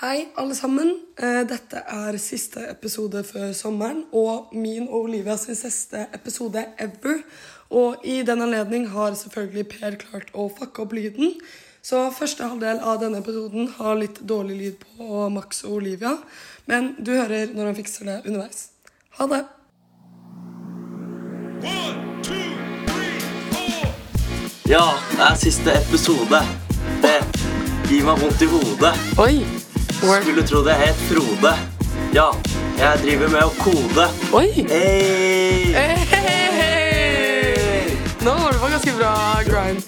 Hei, alle sammen. Eh, Dette er siste episode før sommeren, og min og Olivia sin siste episode ever. Og i den anledning har selvfølgelig Per klart å fucke opp lyden. Så første halvdel av denne episoden har litt dårlig lyd på Max og Olivia. Men du hører når han fikser det underveis. Ha det. One, two, three, four. Ja, det er siste episode. Det gir meg vondt i hodet. Oi! Word. Skulle tro det het Frode. Ja, jeg driver med å kode. Oi! Hey! Hey! Nå var du på ganske bra grind.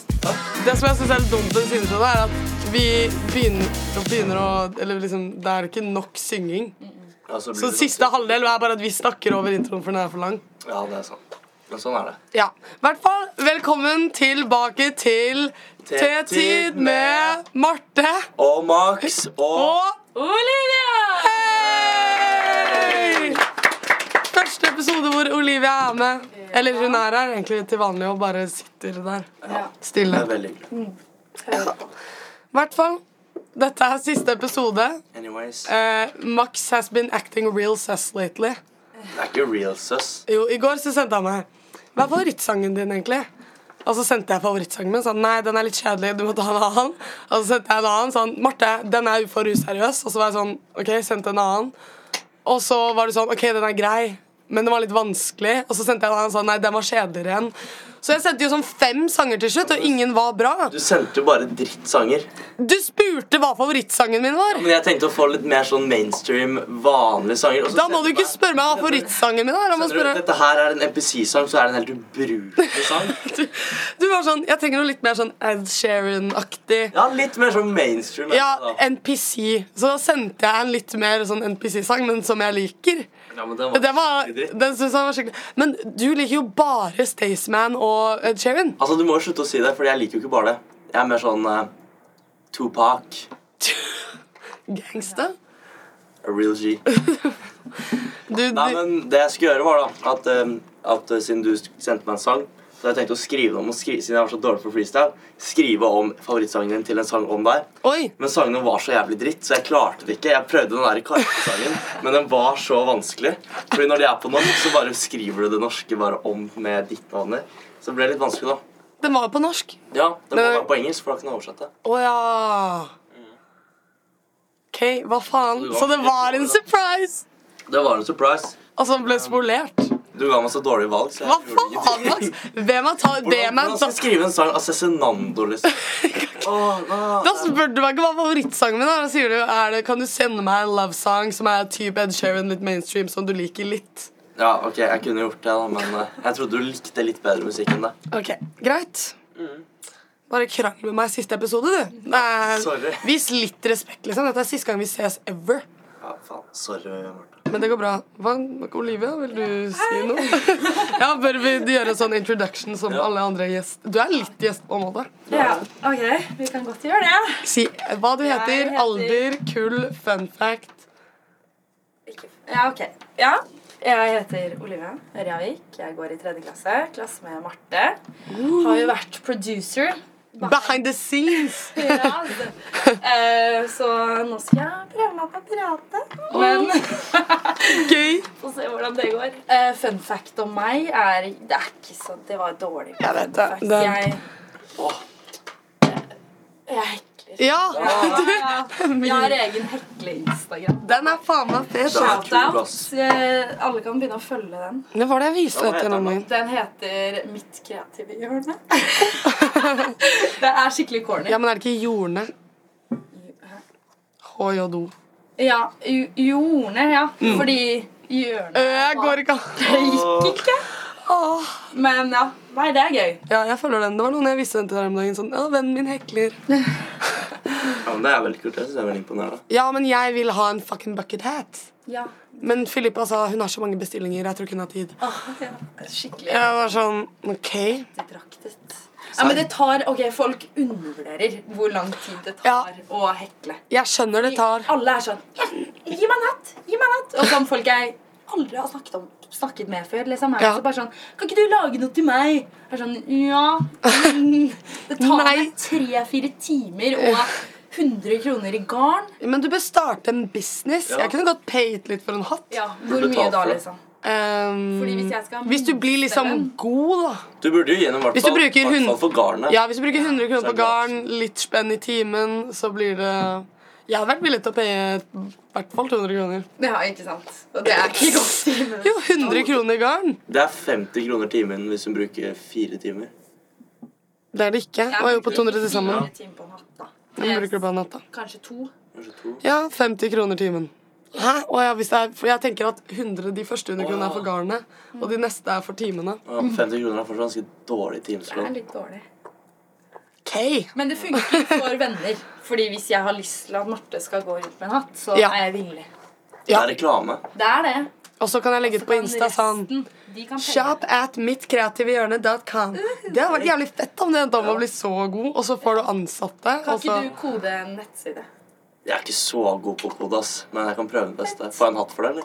Det som jeg syns er litt dumt med det siste, da, er at vi begynner, begynner å Eller liksom, det er ikke nok synging. Ja, så blir Så det siste halvdel er bare at vi snakker over introen, for den er for lang. sånn. Ja, det er sant. Men sånn er det. Ja. I hvert fall velkommen tilbake til T-tid med Marte Og Max og og Olivia! Hei! Første episode hvor Olivia er med. Eller hun er her egentlig til vanlig og bare sitter der Det stille. er veldig hyggelig. I hvert fall. Dette er siste episode. Anyways, Eh, Max has been acting real sus lately. det er ikke real sus. Jo, i går så sendte han meg Hva er favorittsangen din, egentlig? Og så sendte jeg favorittsangen min. Sånn, nei, den er litt kjedelig, du må ta en annen. Og så sendte jeg en annen sånn, Marte, den er for useriøs. Og så var jeg sånn, OK, sendte en annen. Og så var det sånn, OK, den er grei, men den var litt vanskelig. Og så sendte jeg en annen sånn, nei, den var kjedeligere igjen. Så jeg sendte jo sånn fem sanger til slutt, og ingen var bra. Du sendte jo bare drittsanger. Du spurte hva favorittsangen min var. Men jeg tenkte å få litt mer sånn mainstream, vanlige sanger. og så Da må sendte du ikke meg- spørre meg hva favorittsangen min er. Da må jeg Sender spørre du, Dette her er en MPC-sang, så er det en helt ubrukelig sang. du, du var sånn, Jeg trenger noe litt mer sånn Ed Sheeran-aktig. Ja, litt mer sånn mainstream. er Ja, det da. NPC. Så da sendte jeg en litt mer sånn NPC-sang, men som jeg liker. Ja, men den var, Den, var, skikkelig dritt. den synes jeg var skikkelig Men du liker jo bare Staysman og Ed Sheeran. Altså, Du må jo slutte å si det, for jeg liker jo ikke bare det. Jeg er mer sånn eh, Tupac, Gangsta. a real G. Du, du, Nei, men Det jeg skulle gjøre, var da at, eh, at eh, siden du sendte meg en sang så jeg tenkte å skrive om, å skri Siden jeg var så dårlig på freestyle, skrive om favorittsangen din til en sang om deg. oi! Men sangene var så jævlig dritt, så jeg klarte det ikke. Jeg prøvde den der karpesangen, men den var så vanskelig. Fordi når de er på norsk, så bare skriver du det norske bare om med ditt navn. Så det ble litt vanskelig, da. Den var jo på norsk. Ja, det må Men- være på engelsk, for da kan jeg oversette. Å ja. OK, hva faen? Så det var en surprise! Det var en surprise. Og så ble spolert. Du ga meg så dårlige valg, så Hva jeg gjorde faen, ingenting. Max? Hvem er ta... Hvordan, Hvem er hvordan skal jeg skrive en sang av Cezinando, liksom? Åh, Da da. spør du meg ikke hva favorittsangen min er. Da sier du er det, kan du sende meg en love song som er type Ed Sheeran, litt mainstream, som du liker litt. Ja, ok, jeg kunne gjort det, da, men eh, jeg trodde du likte litt bedre musikk enn det. Ok, Greit. Bare krangel med meg i siste episode, du. Nei, Sorry. Vis litt respekt, liksom. Dette er siste gang vi ses ever. Ja, faen. Sorry, Martha. Men det går bra. Hva, Olivia, vil du si noe? ja, Bør vi gjøre en sånn introduction som Ja. alle andre gjester? Du er litt gjest, på en måte. Ja, ok, vi kan godt gjøre det. Si hva du heter, Jeg heter- alder, kull, fun fact. Ja, ok. Ja, jeg heter Olivia Ørjavik. Jeg går i tredje klasse, klasse med Marte. Har jo vært producer. Behind the scenes! Ja, det- Eh, så nå skal jeg prøve meg på å prate. Men Gøy! Få se hvordan det går. Eh, fun fact om meg er Det er ikke sånn Det var dårlig. Jeg vet det. Fact. Den- Jeg Jeg hekler. Ja, Ja, min- Jeg har egen hekle-instagram. den er faen meg fet. altså. Den er Shout kul, out. ass. Eh, Alle kan begynne å følge den. Det var det jeg viste Ja, hva deg til heter den noen da? gang. Den heter Mitt kreative hjørne. det er skikkelig corny. Ja, men er det ikke Jorne? HJO. Ja, jo- Jorne, ja. Fordi hjørnet Jeg går ikke an. Det Eh. gikk ikke. Men ja. Nei, det er gøy. Ja, jeg følger den. Det var noen jeg viste den til deg om dagen. Sånn, ja, vennen min hekler. Ja, men det er veldig kult. Jeg synes det er veldig imponerende. Ja, men jeg vil ha en fucking bucket hat. Ja. Men Filippa sa hun har så mange bestillinger, jeg tror ikke hun har tid. Åh, ja. Skikkelig. Jeg var sånn, ok. ettertraktet. Ja, men det tar, ok, Folk undervurderer hvor lang tid det tar å hekle. Jeg skjønner det tar. Alle er sånn ja, 'Gi meg en hatt! Gi meg en hatt!' Og sånn folk jeg aldri har snakket, om, snakket med før. liksom, er Ja. også bare sånn 'Kan ikke du lage noe til meg?' Jeg er sånn Ja. men Det tar Nei. meg tre-fire timer og 100 kroner i garn. Men du bør starte en business. Ja. Jeg kunne godt payet litt for en hatt. Ja, Hvor du mye betalt da, for det? liksom? Ehm, Fordi hvis jeg skal ha hvis du blir liksom minstevenn- god, da. Du burde jo gi henne i hvert Hvis du fall bruker hvert fall hund- for garnet. Ja, hvis du bruker 100 Så kroner er på det gratis. garn, litt spenn i timen, så blir det Jeg hadde vært villig til å paye i hvert fall 200 kroner. Ja, ikke sant? Og det er ikke godt. men- Jo, 100 kroner i garn! Det er 50 kroner timen hvis hun bruker fire timer. Det er det ikke. Jeg Og jeg er jo på bruker 200 til sammen. fire timer på en hatt, da. Men bruker du på natta? Kanskje to. Kanskje to. Ja, 50 kroner timen. Hæ? Å ja, hvis det er, for jeg tenker at 100 de første 100 kronene er for garnet, og de neste er for timene. Ja, 50 kroner er fortsatt ganske dårlig Det er timeslån. litt dårlig. Okay. Men det funker for venner. Fordi hvis jeg har lyst til at Marte skal gå rundt med en hatt, så Ja. er jeg villig. Det Ja. er reklame. Det er det. Og så kan jeg legge ut på Kan Insta sånn resten, de kan penge. Shop at mittkreativehjørne.com. Det hadde vært jævlig fett om det endte om å bli så god, og så får du ansatte. Kan Og så, ikke du kode en nettside? Jeg er ikke så god på kode, ass. Men jeg kan prøve mitt beste. Får jeg en hatt for det,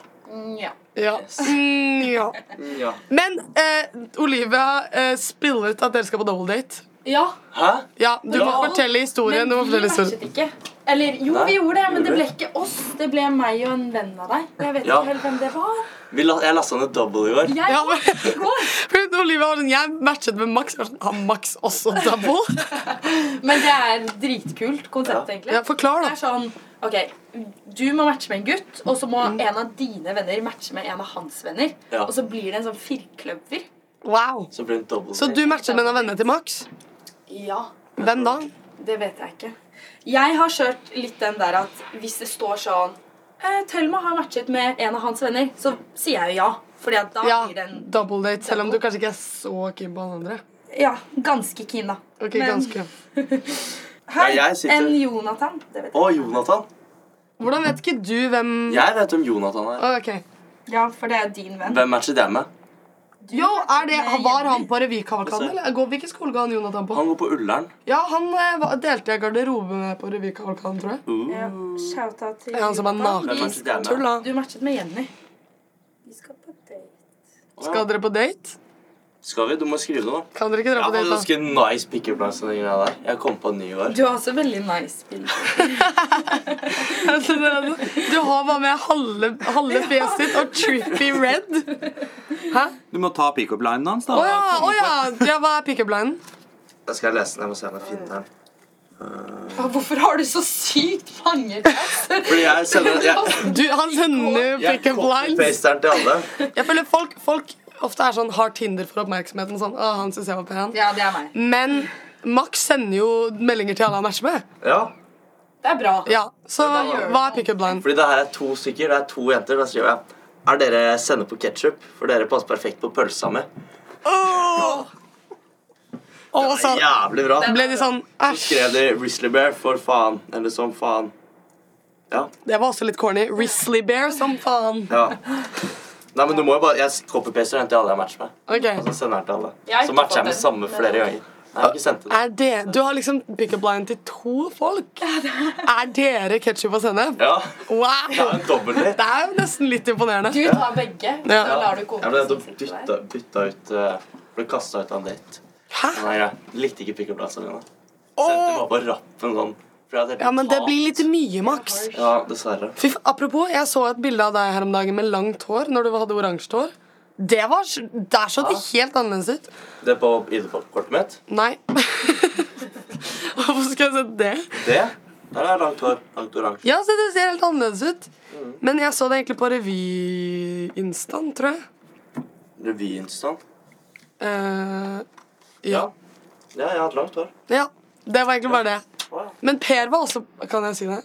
Ja. ja. Yes. Mm, ja. eller? Ja. Men eh, Olivia eh, spiller ut at dere skal på double date. ja. Hæ? Ja, Du må Ja. fortelle historien. Du må vi fortelle historien. matchet ikke. Eller jo, Nei, vi gjorde det, men gjorde det ble vi? ikke oss. Det ble meg og en venn av deg. Jeg vet Ja. ikke helt hvem det var. Vi la, jeg lasta ned double i går. Jeg Ja, men- gikk i går. For Olivia var sånn, Jeg matchet med Max. Jeg var sånn, Har Max også double? Men det er dritkult konsept, Ja. egentlig. Ja, forklar, Det da. er sånn Ok, du må matche med en gutt, og så må Mm. en av dine venner matche med en av hans venner. Ja. Og så blir det en sånn firkløver. Wow. Så blir det en double Så du matchet med en av vennene til Max? Ja. Hvem da? Det vet jeg ikke. Jeg har kjørt litt den der at hvis det står sånn eh, Thelma har matchet med en av hans venner, så sier jeg jo ja. Fordi at da Ja, blir det en double date, selv om du kanskje ikke er så keen på han andre. Ja, ganske keen, da. Ok, ganske Hei, Ja, jeg sitter- en Jonathan. Det vet Å, jeg. Jonathan. Hvordan vet ikke du hvem Jeg vet hvem Jonathan er. Ok Ja, for det er din venn. Hvem matchet jeg med? Du Jo, er matchet det, med Var han Jenny. på revykavalkaden? eller? Går- Hvilken skole ga han Jonathan på? Han går på Ullern. Ja, Han eh, var- delte jeg garderobe med på revykavalkaden, tror jeg. Uh. ja, Shouta til Det er Han som er Jonathan. Hvem naken. matchet jeg Tull, med? da. Du matchet med Jenny. Vi skal på date. Skal dere på date? Skal vi? Du må skrive det, da. Kan dere ikke Jeg dra på har date? da? ganske nice pickup lines. og den greia der. Jeg kom på en ny i går. Du har også veldig nice bilder. Altså, det er altså- Du har bare med halve, halve fjeset ditt og trippy red. Hæ? Du må ta pickup-linen hans, da. Å ja, å ja. ja! Hva er pickup-linen? Jeg skal lese den. Jeg må se om jeg finner den. Hvorfor har du så sykt mange tags? Fordi jeg sender Jeg, Du, Han sender jeg pickup-lines. copy-paster den til alle. Jeg føler folk, folk ofte er sånn har Tinder for oppmerksomheten. Sånn, å, han synes jeg var pen Ja, det er meg. Men Max sender jo meldinger til alle han matcher med. Ja. Det er bra. Ja, Så gjør hva er han. pickup line? Fordi det her er to stykker. Det er to jenter. Da skriver jeg Er dere sender på ketsjup? For dere passer perfekt på pølsa mi. Og så Jævlig bra. ble de sånn Æsj. Skrev de Risley Bear for faen. Eller som faen. Ja. Det var også litt corny. Risley Bear som faen. ja. Nei, men du må jo bare Jeg copy-paster den til alle jeg matcher med. Ok, Og så sender jeg den til alle. Jeg har Så ikke matcher fått jeg med den. samme flere ganger. Nei, jeg har ikke sendt den. er det, Du har liksom pickup line til to folk. Er dere ketsjup og sennep? Ja. Det er Wow! en dobbeltdate. Det er jo nesten litt imponerende. Du tar begge, og Ja. så lar du Jeg ble kompisen nettopp sitte bytta, der. bytta ut eh, Ble kasta ut av en date. Hæ? Nei, jeg likte ikke pick-up-plassene mine. Sendte Åh! bare på rappen sånn. fordi jeg hadde Ja, men det hat. blir litt mye, Max. Ja, dessverre. Fy, fa- apropos, jeg så et bilde av deg her om dagen med langt hår når du hadde oransje hår. Det var, s- Der så det helt annerledes ut. Det på ID-kortet mitt. Nei. Hvorfor skal jeg sette det? Det der er langt hår. Langt oransje. Ja, så det ser helt annerledes ut. Men jeg så det egentlig på revyinstan, tror jeg. Revyinstand. Eh, ja. sånn. Ja, jeg har hatt langt hår. ja. Det var egentlig bare det. Wow. Men Per var også Kan jeg si det?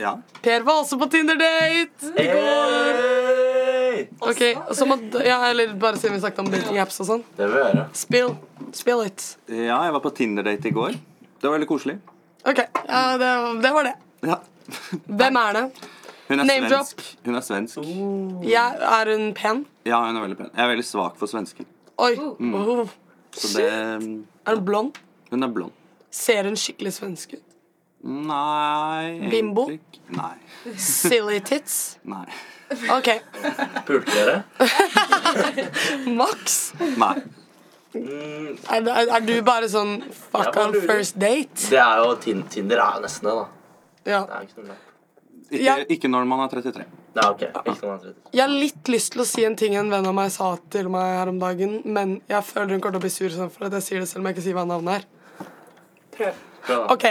Ja. Per var også på Tinder-date! Hey! Ok, så må, ja, eller Bare siden vi snakket om dating apps og sånn. Det vil jeg gjøre. Spill. Spill it. ja, jeg var på Tinder-date i går. Det var veldig koselig. Ok, ja, det, det var det. Ja. Hvem er det? Hun er Name drop. svensk. Hun er svensk. Jeg, er hun pen? Ja, hun er veldig pen. Jeg er veldig svak for svensker. Oi. Uh. Mm. Oh. Så det Er hun blond? Hun er blond. Ser hun skikkelig svensk ut? Nei egentlig Bimbo? ikke. Nei. Silly tits? Nei. Ok, Pulte dere? Max Nei. Er, er, er du bare sånn Fuck Jeg bare on lurer. first date? Det er jo Tin- Tinder er jo nesten det, da. Ja. Det er ikke noe bra. Ikke, Ja. ikke når man er 33. Nei, ok. Ikke noe annet. Jeg har litt lyst til å si en ting en venn av meg sa til meg her om dagen, men jeg føler hun kommer til å bli sur sånn for at jeg sier det selv om jeg ikke sier hva navnet er. Prøv. Prøv, da. Ok,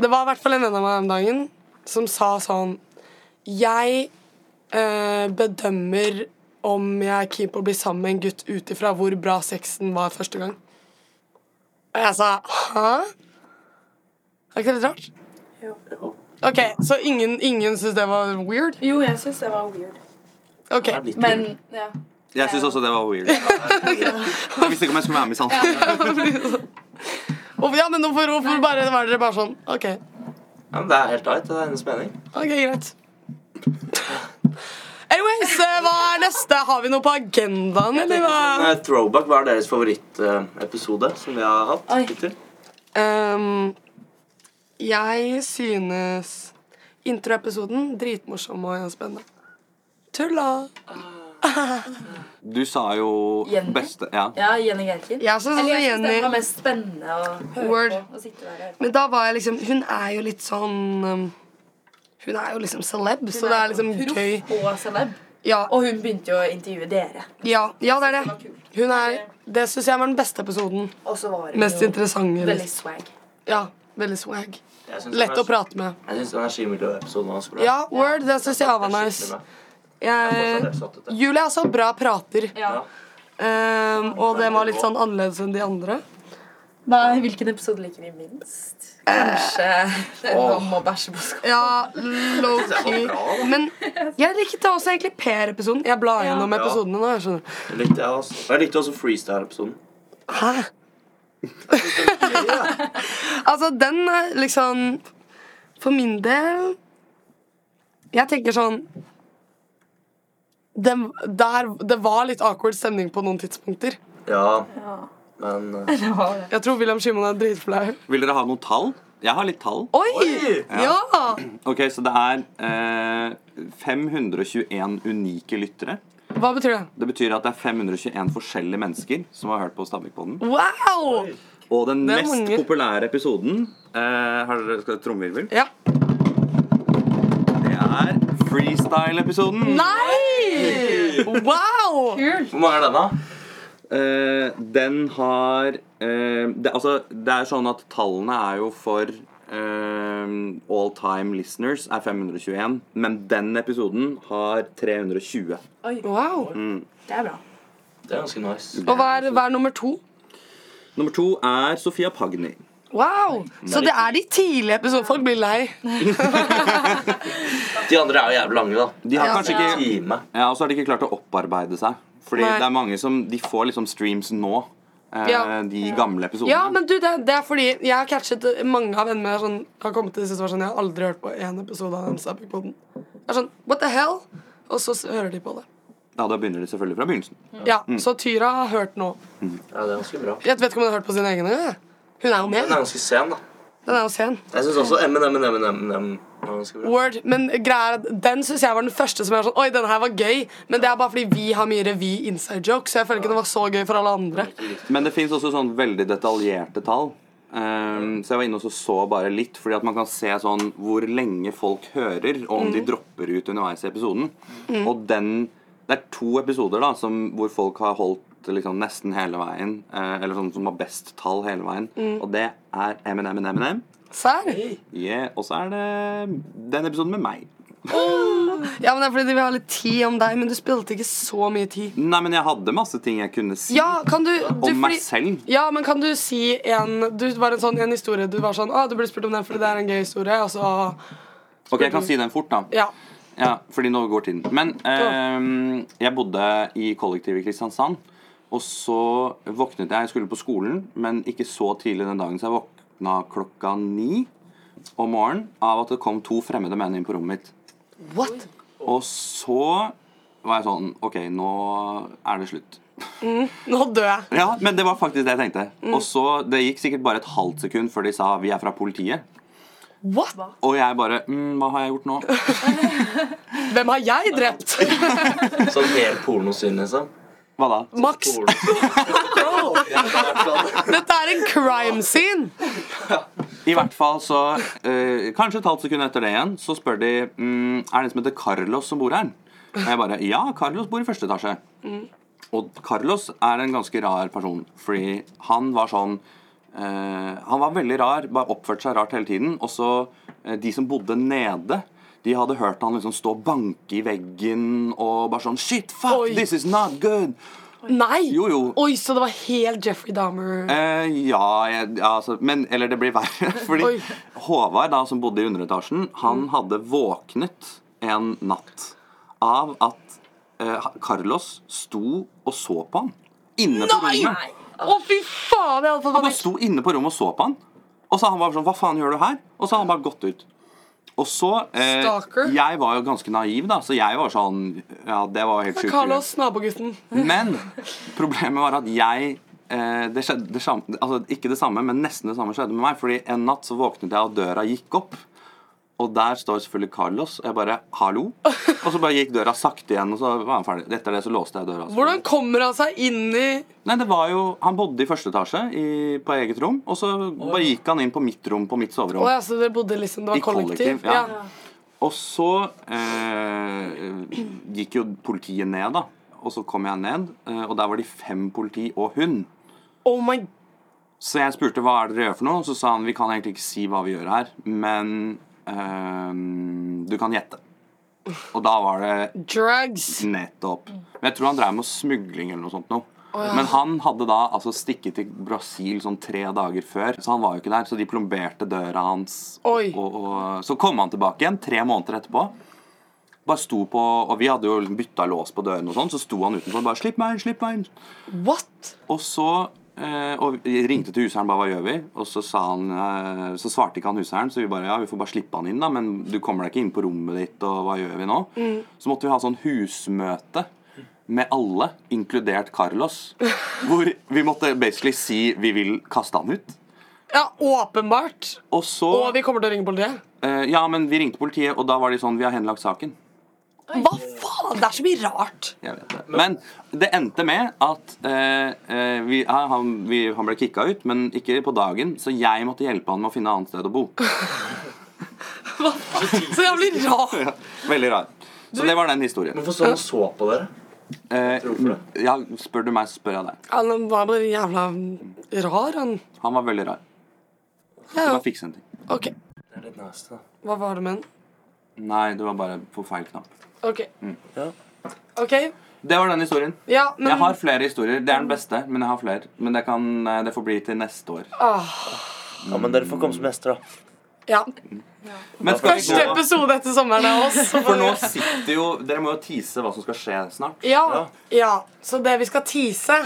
Det var i hvert fall en venn av meg om dagen som sa sånn Jeg eh, bedømmer om jeg er keen på å bli sammen med en gutt ut ifra hvor bra sexen var første gang. Og jeg sa hæ? Er ikke det litt rart? Jo. Ok, Så ingen, ingen syns det var weird? Jo, jeg syns det var weird. Ok, Det er litt Men weird. ja. Jeg syns også det var weird. Jeg visste ikke om jeg skulle være med i Sandnes. Hvorfor- Ja, men hvorfor, hvorfor bare, var dere bare sånn? Ok, Ja, men det er helt right. Det er hennes mening. Ok, greit. Anyways, eh, hva er neste? Har vi noe på agendaen, eller hva? Nei, throwback, hva er deres favorittepisode som vi har hatt? Oi. hittil? Ehm, jeg synes introepisoden dritmorsom og spennende. Tulla! Du sa jo Jenny? beste Ja. ja, Jenny Gerkin. Jeg synes Eller også jeg syns det var Jenny mest spennende å høre Word. på. Å sitte der og høre på. Men da var jeg liksom Hun er jo litt sånn ehm, Hun er jo liksom celeb, så det er liksom proff gøy. Og celeb. Ja, Og hun begynte jo å intervjue dere. ja, ja, det er Det var det. kult. Hun er Det syns jeg var den beste episoden. Og så var hun Mest jo interessante. veldig liksom. swag. Ja, veldig swag. Jeg synes Lett å det var- prate med. Jeg syns energimiljøepisoden var så bra. Ja, Word, det syns jeg var nice. Jeg, Julie er så bra prater, Ja. Ja. ehm, og det var litt sånn annerledes enn de andre. Nei, hvilken episode liker vi minst? Kanskje Eh. den om å bæsje på skolen. Ja, low-key. Det var bra, da. Men jeg likte også egentlig Per-episoden. Jeg blar gjennom Ja. episodene nå. jeg skjønner Jeg likte, jeg også. Og jeg likte også freestyle-episoden. Hæ? Altså, den er liksom For min del Jeg tenker sånn den, der, Det var litt awkward stemning på noen tidspunkter. Ja, Ja. men eh, Det var det. Jeg tror William Simon er dritflau. Vil dere ha noen tall? Jeg har litt tall. Oi! Oi! Ja! Ok, Så det er eh, 521 unike lyttere. Hva betyr det? Det betyr at det er 521 forskjellige mennesker som har hørt på Stabekk-podden. Wow! Og den Det er mest mange. populære episoden eh, Har dere skal dere trommevirvel? Ja. Det er freestyle-episoden. Nei! Wow! Hvor mange er den, da? Eh, den har eh, det, Altså, det er sånn at tallene er jo for eh, all time listeners er 521, men den episoden har 320. Wow. Det er bra. Det er ganske nice. Og hva er, hva er nummer to? Nummer to er Sofia Pagni. Wow! Så det er de tidlige episodene. Folk blir lei. De andre er jo jævlig lange, da. De har Ja. kanskje ikke Time. Ja, og så har de ikke klart å opparbeide seg. Fordi Nei. det er mange som De får liksom streams nå. Eh, Ja. De gamle episodene. Ja, men du, det, det er fordi jeg har catchet mange av vennene mine sånn, har kommet til det siste var sånn, Jeg har aldri hørt på én episode av den Stabic-poden. Jeg er sånn What the hell? Og så s- hører de på det. Ja, Da begynner de selvfølgelig fra begynnelsen. Ja, Så Tyra har hørt nå. Ja, det er ganske bra. Jeg vet ikke om hun har hørt på sine egne. jeg. Hun er jo Den er med. ganske sen, da. Den er jo sen. Jeg syns også MNM var ganske bra. Word, men greia er at Den synes jeg var den første som jeg var sånn Oi, den her var gøy. Men det er bare fordi vi har mye revy inside jokes. Så jeg føler ikke den var så gøy for alle andre. Men det fins også sånn veldig detaljerte tall. Ehm, så jeg var inne og så- så bare litt, fordi at man kan se sånn hvor lenge folk hører, og om de Mm. dropper ut underveis i episoden. Og den Det er to episoder da som, hvor folk har holdt liksom nesten hele veien. eh, eller sånn som har best tall hele veien. Og det er M&M M&M. Sær? Yeah, og så er det den episoden med meg. Ja, men det er fordi de vil ha litt tid om deg, men du spilte ikke så mye tid. Nei, men jeg hadde masse ting jeg kunne si Ja, kan du, du om meg fordi- selv. Ja, men kan du si en Du var en sånn en historie du var sånn Å, du ble spurt om den fordi det er en gøy historie, og så Ok, jeg kan si den fort, da. Ja. Ja, fordi nå går tiden. Men ehm, jeg bodde i kollektivet i Kristiansand. Og så våknet jeg. Jeg skulle på skolen, men ikke så tidlig den dagen. Så jeg våkna klokka ni om morgenen av at det kom to fremmede menn inn på rommet mitt. What? Og så var jeg sånn OK, nå er det slutt. Nå dør jeg. Ja, men det var faktisk det jeg tenkte. Og så, Det gikk sikkert bare et halvt sekund før de sa 'vi er fra politiet'. What? Og jeg bare mm, 'hva har jeg gjort nå?' Hvem har jeg drept? Sånn helt pornosyn, liksom. Hva da? Max, Porno. dette er en crime scene! I hvert fall så eh, Kanskje et halvt sekund etter det igjen Så spør de mm, Er det en som heter Carlos som bor her? Og jeg bare Ja, Carlos bor i første etasje. Og Carlos er en ganske rar person, fordi han var sånn eh, Han var veldig rar, bare oppførte seg rart hele tiden. Og så eh, de som bodde nede, de hadde hørt han liksom stå og banke i veggen og bare sånn Shit, fuck, Oi. this is not good! Nei! Jo, jo. Oi, så det var helt Jeffrey Dahmer. Eh, ja, jeg, ja, altså, men Eller det blir verre. Fordi Oi. Mm. Håvard, da, som bodde i underetasjen, han hadde våknet en natt av at eh, Carlos sto og så på han inne på rommet. Nei. Å, fy faen! Jeg hadde fått Han bare panikk. sto inne på rommet og så på han. Og så han bare sånn Hva faen gjør du her? Og så har han bare gått ut. Og så eh, Stalker. Jeg var jo ganske naiv, da, så jeg var sånn Ja, det var helt sjukt. Carlos, nabogutten. Men problemet var at jeg eh, det skjedde det samme, altså Ikke det samme, men nesten det samme skjedde med meg. Fordi en natt så våknet jeg, og døra gikk opp. Og der står selvfølgelig Carlos. Og jeg bare 'hallo'. Og så bare gikk døra sakte igjen, og så var han ferdig. Etter det så låste jeg døra. Hvordan kommer han seg inn i Nei, det var jo, Han bodde i første etasje i, på eget rom, og så bare gikk han inn på mitt rom, på mitt soverom. Å ja, så dere bodde liksom Det var I kollektiv, kollektiv? ja. Og så eh, gikk jo politiet ned, da. Og så kom jeg ned, eh, og der var de fem politi og hun. Oh my Så jeg spurte hva er det dere gjør for noe, og så sa han vi kan egentlig ikke si hva vi gjør her, men eh, du kan gjette. Og da var det drugs. nettopp. Men jeg tror han drev med smugling eller noe sånt noe. Men han hadde da altså stikket til Brasil sånn tre dager før, så han var jo ikke der. Så de plomberte døra hans. Oi. Og, og, så kom han tilbake igjen tre måneder etterpå. Bare sto på, Og vi hadde jo bytta lås på dørene, og sånn, så sto han utenfor og bare 'Slipp meg inn! Slipp meg inn!' What? Og så eh, og vi ringte til huseieren bare 'Hva gjør vi?' Og så, sa han, eh, så svarte ikke han huseieren, så vi bare 'Ja, vi får bare slippe han inn, da, men du kommer deg ikke inn på rommet ditt, og hva gjør vi nå?' Mm. Så måtte vi ha sånn husmøte. Med alle, inkludert Carlos. Hvor vi måtte basically si vi vil kaste han ut. Ja, åpenbart. Og så Og vi kommer til å ringe politiet. eh, Ja, men vi ringte politiet, og da var de sånn Vi har henlagt saken. Hva faen? Det er så mye rart. Jeg vet det. Men det endte med at eh, eh, vi, ja, han, vi, han ble kicka ut, men ikke på dagen, så jeg måtte hjelpe han med å finne annet sted å bo. Så jævlig rart. Veldig rart. Så det var den historien. Hvorfor står han og så på dere? Eh, Hvorfor det? ja, spør du meg, så spør jeg deg. Han var bare jævla rar, han. Han var veldig rar. Ja, Det ja. var fikse en ting. OK. Det er litt nasty, da. Hva var det med den? Nei, det var bare på feil knapp. OK. Ja. OK. Det var den historien. Ja, men Jeg har flere historier. Det er den beste, men jeg har flere. Men det, kan, eh, det får bli til neste år. Ja, men dere får komme som gjester, da. Ah. ja. Men skal vi Første gå episode etter sommeren av oss. så får For nå vi- sitter jo Dere må jo tease hva som skal skje snart. Ja, ja. Så det vi skal tease,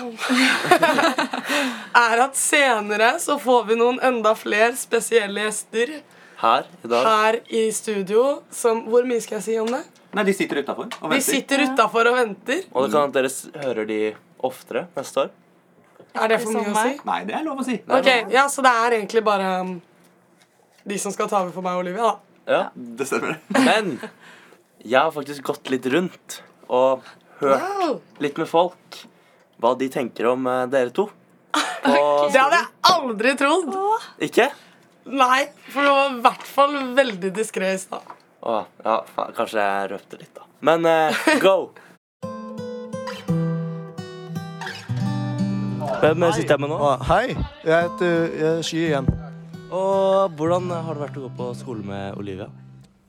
er at senere så får vi noen enda flere spesielle gjester Her i dag. her i studio. Som, hvor mye skal jeg si om det? Nei, de sitter utafor og venter. De sitter utafor og venter. Og det kan hende dere s- hører de oftere neste år. Er det for mye å si? Nei, det er lov å si. Ok, ja, Så det er egentlig bare um, de som skal ta over for meg og Olivia, da. Ja. Det stemmer. Men jeg har faktisk gått litt rundt og hørt litt med folk hva de tenker om eh, dere to. Og, Det hadde jeg aldri trodd. Ikke? Nei, for du var i hvert fall veldig diskré i stad. Å, ja, faen, kanskje jeg røpte litt, da. Men eh, go! Hvem eh, sitter jeg med nå? Ah, Hei, jeg heter jeg er Sky igjen. Og hvordan har det vært å gå på skole med Olivia?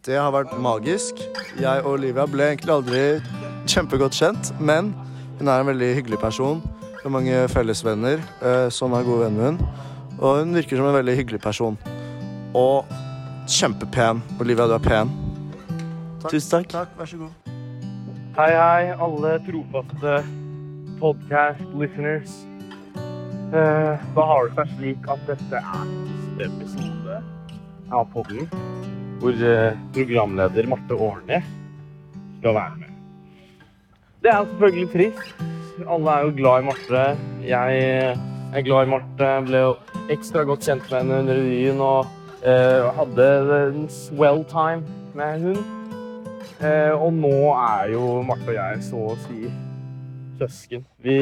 Det har vært magisk. Jeg og Olivia ble egentlig aldri kjempegodt kjent, men hun er en veldig hyggelig person. Hun har mange fellesvenner eh, som er gode venn med hun. Og hun virker som en veldig hyggelig person. Og kjempepen. Olivia, du er pen. Tusen takk. Takk, vær så god. Hei, hei, alle trofaste podcast-listeners. Eh, da har det seg slik at dette er siste episode av podden, hvor eh, programleder Marte Årne skal være med. Det er selvfølgelig trist. Alle er jo glad i Marte. Jeg eh, er glad i Marte. Ble jo ekstra godt kjent med henne under revyen og eh, hadde en swell time med hun. Eh, og nå er jo Marte og jeg så å si søsken. Vi,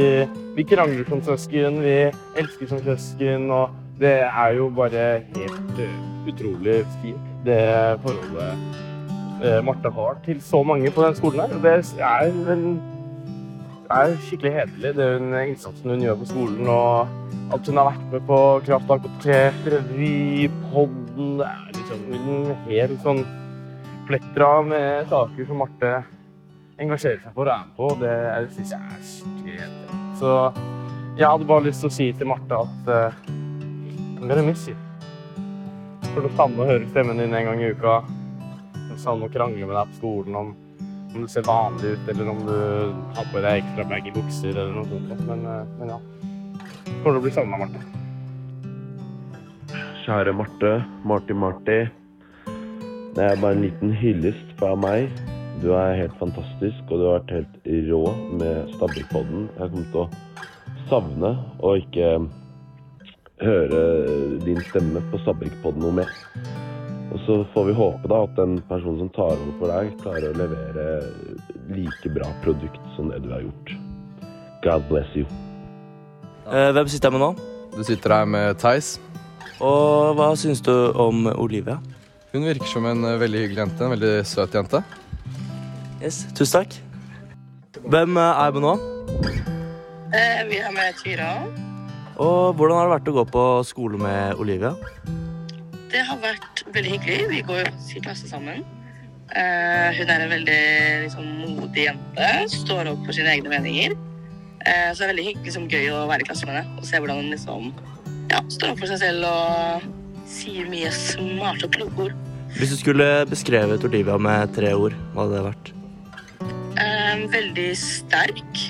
vi krangler som søsken, vi elsker som søsken, og Det er jo bare helt eh, utrolig fint, det forholdet eh, Martha har til så mange på den skolen her. Og Det er, en- er skikkelig hederlig, det hun, innsatsen hun gjør på skolen. Og at hun har vært med på Kraft Akkurat revy, podden Det er liksom hun er helt sånn flettra med saker som Marte engasjerer seg for og er med på. og Det er- synes jeg er skikkelig hederlig. Så jeg hadde bare lyst til å si til Marte at eh, I'm gonna miss you. For det samme å høre stemmen din en gang i uka. Det samme å krangle med deg på skolen om, om du ser vanlig ut, eller om du har på deg ekstra baggy bukser eller noe sånt. Men, eh, men ja. Kommer til å bli savna, Marte. Kjære Marte, Marti Marti. Det er bare en liten hyllest fra meg. Du er helt fantastisk, og du har vært helt rå med Stabbelikpodden. Jeg kommer til å savne å ikke høre din stemme på Stabbelikpodden noe mer. Og så får vi håpe da at den personen som tar over for deg, klarer å levere like bra produkt som det du har gjort. God bless you. Eh, hvem sitter jeg med nå? Du sitter her med Theis. Og hva syns du om Olivia? Hun virker som en eh, veldig hyggelig jente. En veldig søt jente. Yes, tusen takk. Hvem eh, er jeg med nå? Eh, vi har med Tyra. Og hvordan har det vært å gå på skole med Olivia? Det har vært veldig hyggelig. Vi går jo i klasse sammen. Eh, hun er en veldig liksom, modig jente. Står opp for sine egne meninger. Eh, så det er veldig hyggelig, liksom, gøy å være i klasse med henne og se hvordan hun liksom, ja, står opp for seg selv og sier mye smarte og kloke ord. Hvis du skulle beskrevet Olivia med tre ord, hva hadde det vært? Eh, veldig sterk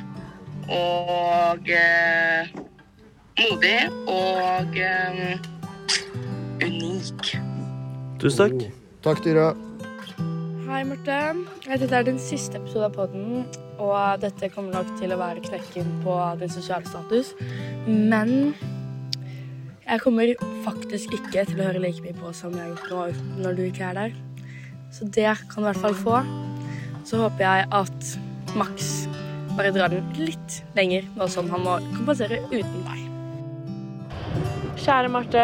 og eh, modig og eh, unik. Tusen takk. Takk, Tyra. Hei, Marte. Dette er din siste episode av podden, og dette kommer nok til å være knekken på din sosiale status. Men jeg kommer faktisk ikke til å høre like mye på som jeg har gjort nå uten- når du ikke er der. Så det kan du i hvert fall få. Så håper jeg at Max bare drar den litt lenger, nå som han må kompensere uten deg. Kjære Marte.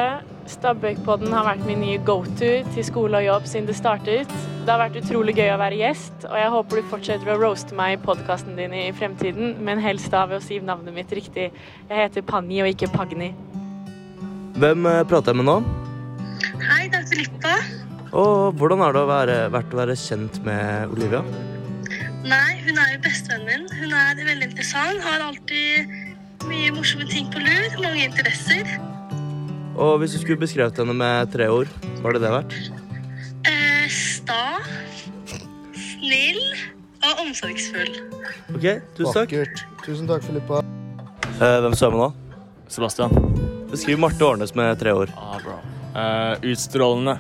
Stabøkpodden har vært min nye go-to til skole og jobb siden det startet. Det har vært utrolig gøy å være gjest, og jeg håper du fortsetter å roaste meg i podkasten din i fremtiden, men helst da ved å si navnet mitt riktig. Jeg heter Panni og ikke Pagni. Hvem eh, prater jeg med nå? Hei, det er Filippa. Og hvordan har det å være, vært å være kjent med Olivia? Nei, hun er jo bestevennen min. Hun er veldig interessant. Har alltid mye morsomme ting på lur. Mange interesser. Og hvis du skulle beskrevet henne med tre ord, hva hadde det vært? Eh, sta, snill og omsorgsfull. Ok, tusen takk. Tusen takk, Filippa. Eh, hvem står jeg med nå? Sebastian. Beskriv Marte Årnes med tre ord. Eh, utstrålende.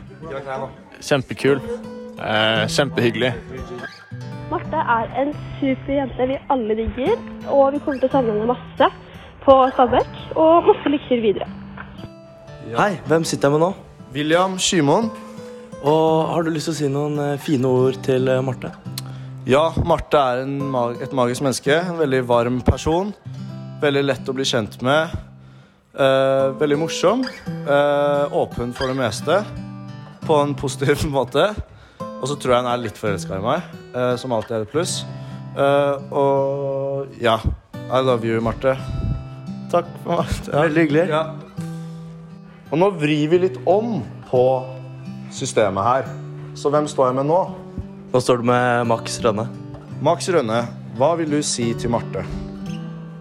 Kjempekul. Eh, kjempehyggelig. Marte er en super jente vi alle digger, og vi kommer til å savne henne masse på Stabekk. Og masse lykker videre. Hei, hvem sitter jeg med nå? William Skymon. Og har du lyst til å si noen eh, fine ord til eh, Marte? Ja, Marte er en, mag- et magisk menneske. En veldig varm person. Veldig lett å bli kjent med. Eh, veldig morsom. Eh, åpen for det meste. På en positiv måte. Og så tror jeg hun er litt forelska i meg, eh, som alltid er et pluss. Eh, og ja. I love you, Marte. Takk for meg. Veldig hyggelig. Ja. Og nå vrir vi litt om på systemet her. Så hvem står jeg med nå? Nå står du med Max Rønne. Max Rønne, hva vil du si til Marte?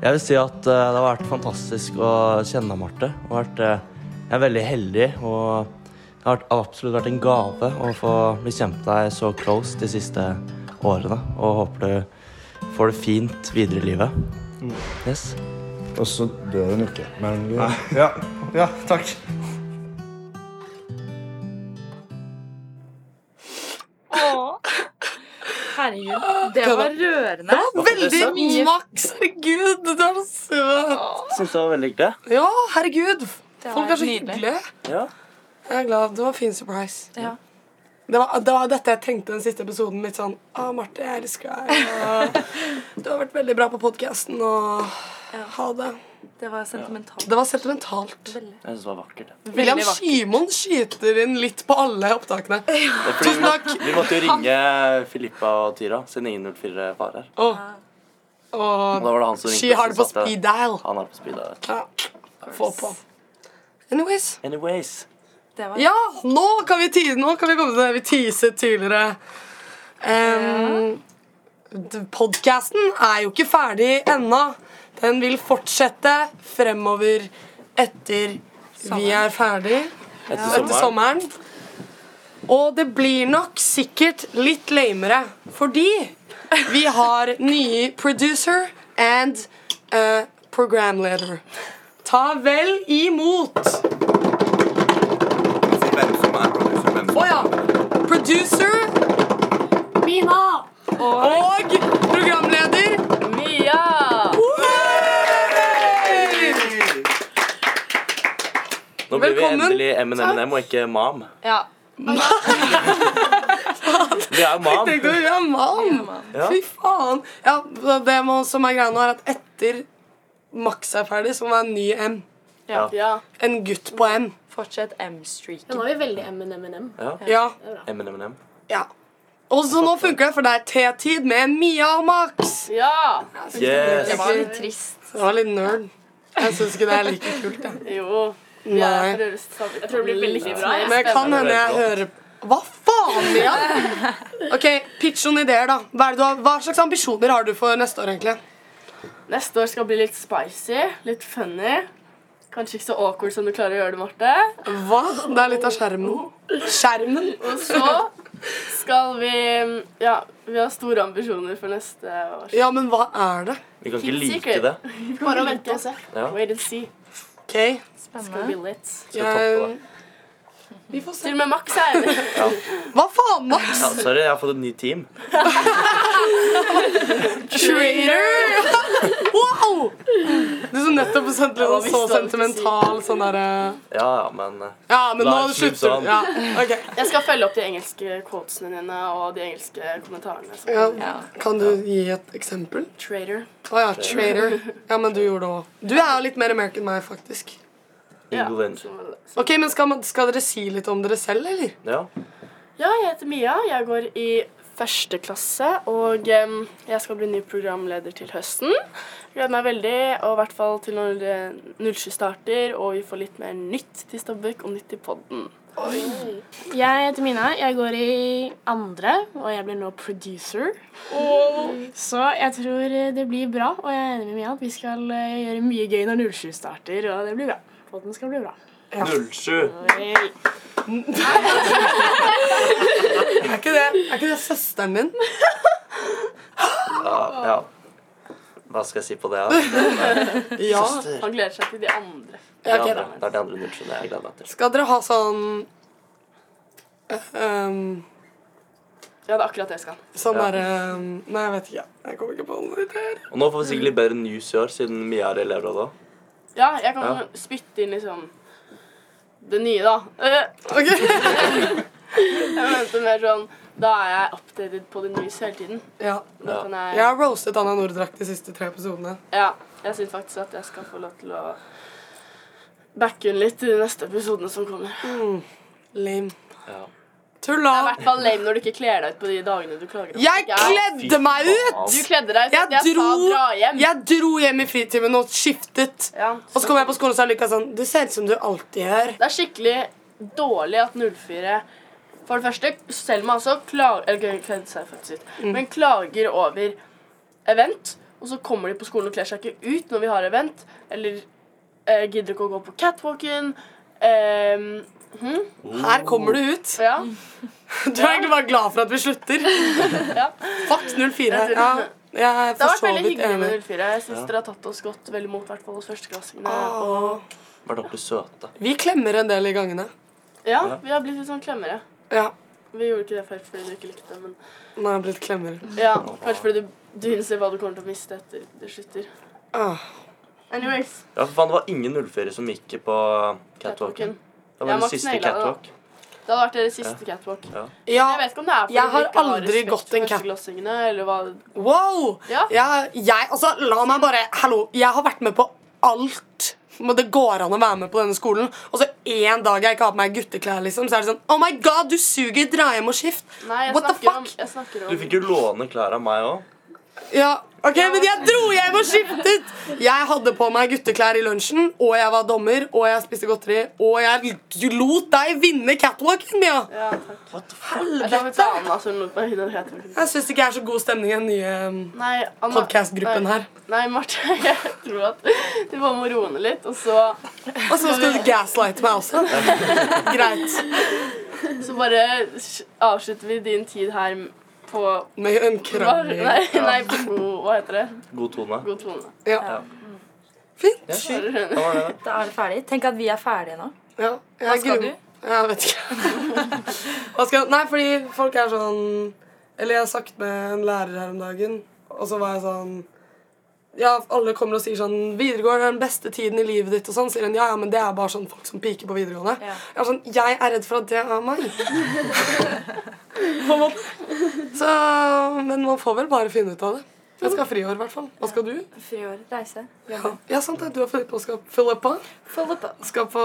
Jeg vil si at eh, det har vært fantastisk å kjenne Marte. Det har vært, eh, jeg er veldig heldig, og det har vært, absolutt vært en gave å få bli kjent med deg så close de siste årene. Og håper du får det fint videre i livet. Yes. Og så dør hun ikke, men vi Ja. ja, takk. Herregud, det var rørende. Veldig mye. Max! Herregud, du er så søt! Syns det var veldig hyggelig. Ja, herregud. Det Folk var er så nydelig. hyggelige. Ja. Jeg er glad. Det var en fin surprise. Ja. Det var, det var dette jeg trengte den siste episoden. Litt sånn Å, Marte, jeg elsker deg. Og du har vært veldig bra på podkasten, og Ha det. Det var sentimentalt. Det var sentimentalt. Jeg syns det var vakkert. William Simon skyter inn litt på alle opptakene. Det er fordi vi, måtte, vi måtte jo ringe Filippa og Tyra, sin 904-far her. Åh. Og da var det han Og som ringte she har det på og som sa at- speed dial. Han har det på speed dial. Ja. Få på. Anyways. Anyways. Ja, nå kan vi tise, nå kan vi komme til det vi teaset tidligere. Um, Podkasten er jo ikke ferdig ennå. Den vil fortsette fremover etter vi er ferdig. Etter Ja. etter sommeren. Og det blir nok sikkert litt lamere, fordi vi har nye producer and eh, programleder. Ta vel imot Å ja. Producer Mina. Og programleder Mia. Nå blir vi Velkommen. endelig MNMNM og ikke Mam. Ja. Vi er Mam. Jeg tenkte, ja, mann! Ja. Fy faen. Ja, det må- som er greia nå, er at etter Max er ferdig, så må det være en ny M. Ja. Ja. En gutt på M. Fortsett M-streaken. Den var jo veldig MNMNM. Ja. Ja. MNMNM. ja. Og så nå funker det, for det er T-tid med Mia og Max. Ja! Yes. Det var litt trist. Det var litt nerd. Jeg syns ikke det er like kult. Jeg. Jo. Nei. Jeg tror det blir veldig bra. Men jeg kan hende jeg hører Hva faen, Mia? Ok, Pitch noen ideer, da. Hva, er det du har, hva slags ambisjoner har du for neste år, egentlig? Neste år skal bli litt spicy, litt funny. Kanskje ikke så awkward som du klarer å gjøre det, Marte. Hva? Det er litt av skjermen. Skjermen. Og så skal vi Ja, vi har store ambisjoner for neste år. Ja, men hva er det? Vi kan ikke Keep like secret. det. Bare vente og se. Ja. Wait and see. OK. eh, Det skal bli litt. Skal toppe det. Vi får se. Til og med Max er enig. Ja. Hva faen, Max? Ja, sorry, jeg har fått et nytt team. Traitor! wow! Du som nettopp sendte litt Ja, sånn så visste hva du skulle si. sentimental sånn derre Ja, ja, men eh, Ja, men nå la oss slutte slutter sånn. du. Ja, ok. Jeg skal følge opp de engelske quotesene dine og de engelske kommentarene. som- Ja. Kan du gi et eksempel? Traitor. Å ja, traitor. Ja, men du gjorde det òg. Du er jo litt mer American enn meg, faktisk. England. Ok, men skal, man, skal dere si litt om dere selv, eller? Ja. Ja, jeg heter Mia. Jeg går i første klasse, og em, jeg skal bli ny programleder til høsten. Gleder meg veldig, og i hvert fall til når eh, 07 starter, og vi får litt mer nytt til Stabæk og nytt til podden. Jeg heter Mina. Jeg går i andre, og jeg blir nå producer. Så jeg tror det blir bra, og jeg er enig med Mia at vi skal eh, gjøre mye gøy når 07 starter, og det blir bra. Podden skal bli bra. 07. Er ikke det, er ikke det søsteren din? Ja, ja. Hva skal jeg si på det? da? Ja. Søster. Han gleder seg til de andre. Det Ja, er ok, de da. andre- det er de andre 07 jeg gleder meg til. Skal dere ha sånn eh, um, Ja, det er akkurat det jeg skal. Sånn Ja. derre um, Nei, jeg vet ikke. Jeg kommer ikke på noe ideer. Og nå får vi sikkert litt bedre news i år, siden Mia er elevråd òg. Ja, jeg kan Ja. spytte inn liksom det nye, da. Eh. jeg mente mer sånn Da er jeg updated på det nye hele tiden. Ja. Da kan jeg Jeg har roastet Anna Nordrak de siste tre episodene. Ja, jeg syns faktisk at jeg skal få lov til å backe hun litt i de neste episodene som kommer. Lame. Ja. Tulla! Det er i hvert fall lame når du ikke kler deg ut på de dagene du klager. over. Jeg Ja. kledde meg ut! Du kledde deg ut. Jeg, Jeg, jeg dro, sa dra hjem. jeg dro hjem i fritimen og skiftet. og så kom jeg på skolen og sa Lukas sånn Du ser ut som du alltid gjør. Det er skikkelig dårlig at 04 For det første, Selma altså klager Eller hun kledde seg faktisk ut. Mm. Men klager over event, og så kommer de på skolen og kler seg ikke ut når vi har event. Eller eh, gidder ikke å gå på catwalken. ehm, hm? Her kommer du ut. Ja. Du er egentlig bare glad for at vi slutter. Fuck 04. Ja, jeg er for Det har vært så veldig vidt hyggelig enig. med 04. Jeg syns Ja. dere har tatt oss godt vel imot, i hvert fall hos førsteklassingene. Åh. Var dere søte? Vi klemmer en del i gangene. Og ja, vi har blitt litt sånn klemmere. Ja. Vi gjorde ikke det før fordi du ikke likte det, men Nå er jeg blitt klemmer. ja, kanskje fordi du, du innser hva du kommer til å miste etter det slutter. Åh. Anyways. Mm. Ja, for faen, det var ingen 04 som gikk på catwalken. Det var Ja, den Max siste naila det, da. catwalk. Det hadde vært deres siste catwalk. Ja. Jeg vet ikke om det er fordi Jeg har dere ikke aldri respekt gått for en cat- førsteklassingene, eller hva Wow! Jeg, jeg, altså, la meg bare Hallo, jeg har vært med på alt. Men det går an å være med på denne skolen. Og så en dag jeg ikke har på meg gutteklær, liksom, så er det sånn Oh my god, du suger! Dra hjem og skift! Nei, jeg What the snakker fuck? om, jeg snakker Du om fikk jo låne klær av meg òg. Ja, ok, men jeg dro hjem og skiftet! Jeg hadde på meg gutteklær i lunsjen, og jeg var dommer, og jeg spiste godteri, og jeg lot deg vinne catwalken, Mia! Ja, takk. Jeg tror vi Helvete! tar med oss en nordmann, hun heter ikke det. Jeg syns ikke jeg er så god stemning i den nye um, Nei, Anna- podkastgruppen nei. her. Nei, Marte, jeg tror at du bare må roe ned litt, og så Og så skal du gaslighte meg også. Greit. Så bare s- avslutter vi din tid her på Med en krangel. Nei, nei, på god Hva heter det? God tone. God tone. Ja. Fint. Ja, Da Da var det er det ferdig. Tenk at vi er ferdige nå. Ja, Hva skal gruer- du? Jeg vet ikke. Hva skal, nei, fordi folk er sånn Eller jeg snakket med en lærer her om dagen, og så var jeg sånn ja, Alle kommer og sier sånn 'Videregående er den beste tiden i livet ditt.' og sånn, sier hun. Ja, ja, men det er bare sånn folk som piker på videregående. Jeg er sånn, jeg er redd for at det er meg. på en måte. Så, men man får vel bare finne ut av det. Jeg skal ha friår, i hvert fall. Hva skal du? Friår. Reise. Ja, ja sant det. Du har funnet på å skal Filippa. Filippa. Skal på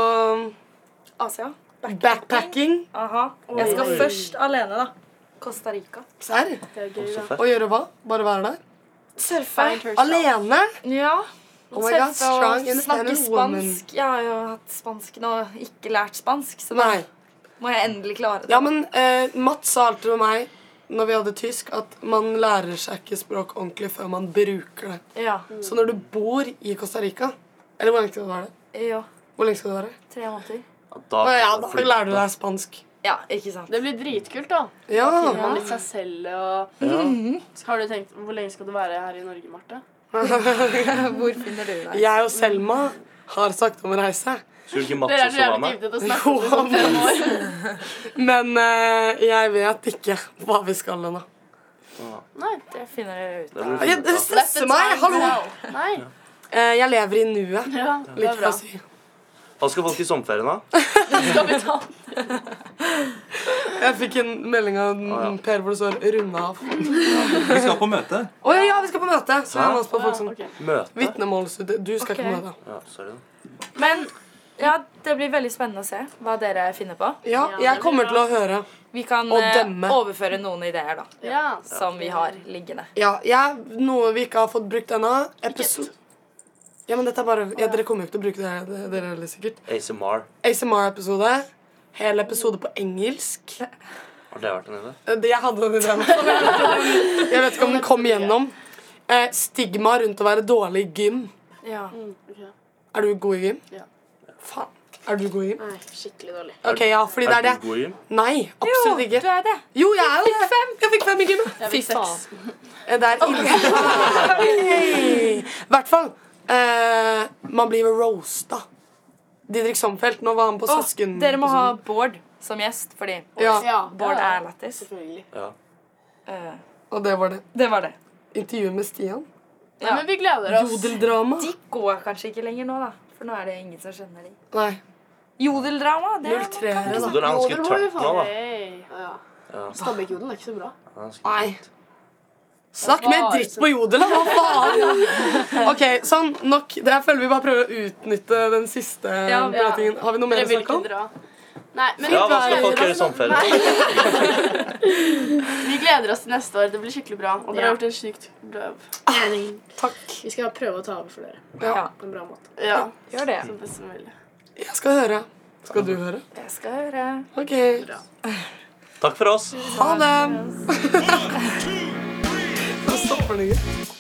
Asia. backpacking. Aha. Jeg skal Oi. først alene, da. Costa Rica. Serr? da. Og gjøre hva? Bare være der? Surfe. Alene? Ja. Oh my God, Surfe og strong snakke independent woman. spansk. Jeg har jo hatt spansk nå, ikke lært spansk, så da Nei. må jeg endelig klare det. Ja, men eh, Mats sa alltid med meg når vi hadde tysk, at man lærer seg ikke språk ordentlig før man bruker det. Ja. Så når du bor i Costa Rica Eller hvor lenge skal du være det? Ja, Hvor lenge skal du være? tre måneder. Da Å ja, kan da du flytte. lærer du deg spansk. Ja, ikke sant. Det blir dritkult, da. Ja. Da finner man litt seg selv og Ja. Så Har du tenkt Hvor lenge skal du være her i Norge, Marte? Hvor finner du deg? Jeg og Selma har sagt om å reise. Skulle ikke Dere Mats er også så være jævlig med? giftet og snakker om det sånn fem år. Men eh, jeg vet ikke hva vi skal ennå. Ja. Nei, det finner dere ut Det av. blir fint, da. Det stresser meg! Hallo! Nei. Eh, jeg lever i nuet. Ja, det Litt er for bra. å si. Hva skal folk i sommerferien, da? Jeg fikk en melding av Per hvor det står 'runde av'. Vi skal på møte. Å ja, ja, vi skal på møte! Så jeg må også på folk som Møte? Vitnemålsstudie. Du skal ikke Ok. på møte. Ja, sorry. Men ja, det blir veldig spennende å se hva dere finner på. Ja, jeg kommer til å høre. Vi kan og eh, dømme. overføre noen ideer, da. Ja. Som vi har liggende. Ja, jeg, noe vi ikke har fått brukt ennå. Episode Ja, men dette er bare ja, Dere kommer jo ikke til å bruke det, det dere heller, sikkert. ASMR. ASMR-episode. Hel episode på engelsk. Har det vært en idé? Eh, Det jeg hadde en idé om. Jeg vet ikke om den kom igjennom. Eh, Stigma rundt å være dårlig i gym. Ja. Er du god i gym? Ja. Faen. Er du god i gym? Nei, skikkelig dårlig. Ok, ja, fordi det er det. du god i gym? Nei, absolutt ikke. Du er det. Jo, jeg er jo det. Jeg fikk fem i gymmet. Jeg fikk seks. Eh, Det er ille. I hvert fall. eh, man blir jo roasta. Didrik Sommerfelt. Nå var han på Åh, Søsken... dere må ha episoden. Bård som gjest, fordi Ja. Ja, Bård ja, er lættis. Ja. Eh, Og det var det. Det var det. Intervju med Stian. ja. Men vi gleder oss. Jodeldrama. De går kanskje ikke lenger nå, da. For nå er det ingen som skjønner de. Nei. Jodeldrama, det er 03 er det, Jodel da. er ganske Jodel var jo tørt nå, da. faen- Ja. Ja. Stabbekkjoden er ikke så bra. Ja, ganske- Nei. Snakk mer dritt på jodel, da! Hva faen? OK, sånn. Nok. Det her føler vi bare prøver å utnytte den siste Ja. beretningen. Har vi noe mer å Dere vil snakke om? ikke dra. Nei, men Ja, hva skal folk gjøre i sommerferien? Vi gleder oss til neste år. Det blir skikkelig bra. Og Ja. dere har gjort en sykt bra Takk. Vi skal prøve å ta over for dere Ja. på en bra måte. Ja. Gjør det. Så best som mulig. Jeg skal høre. Skal du høre? Jeg skal høre. OK. Takk for oss. Ha det. Nå stopper den ikke.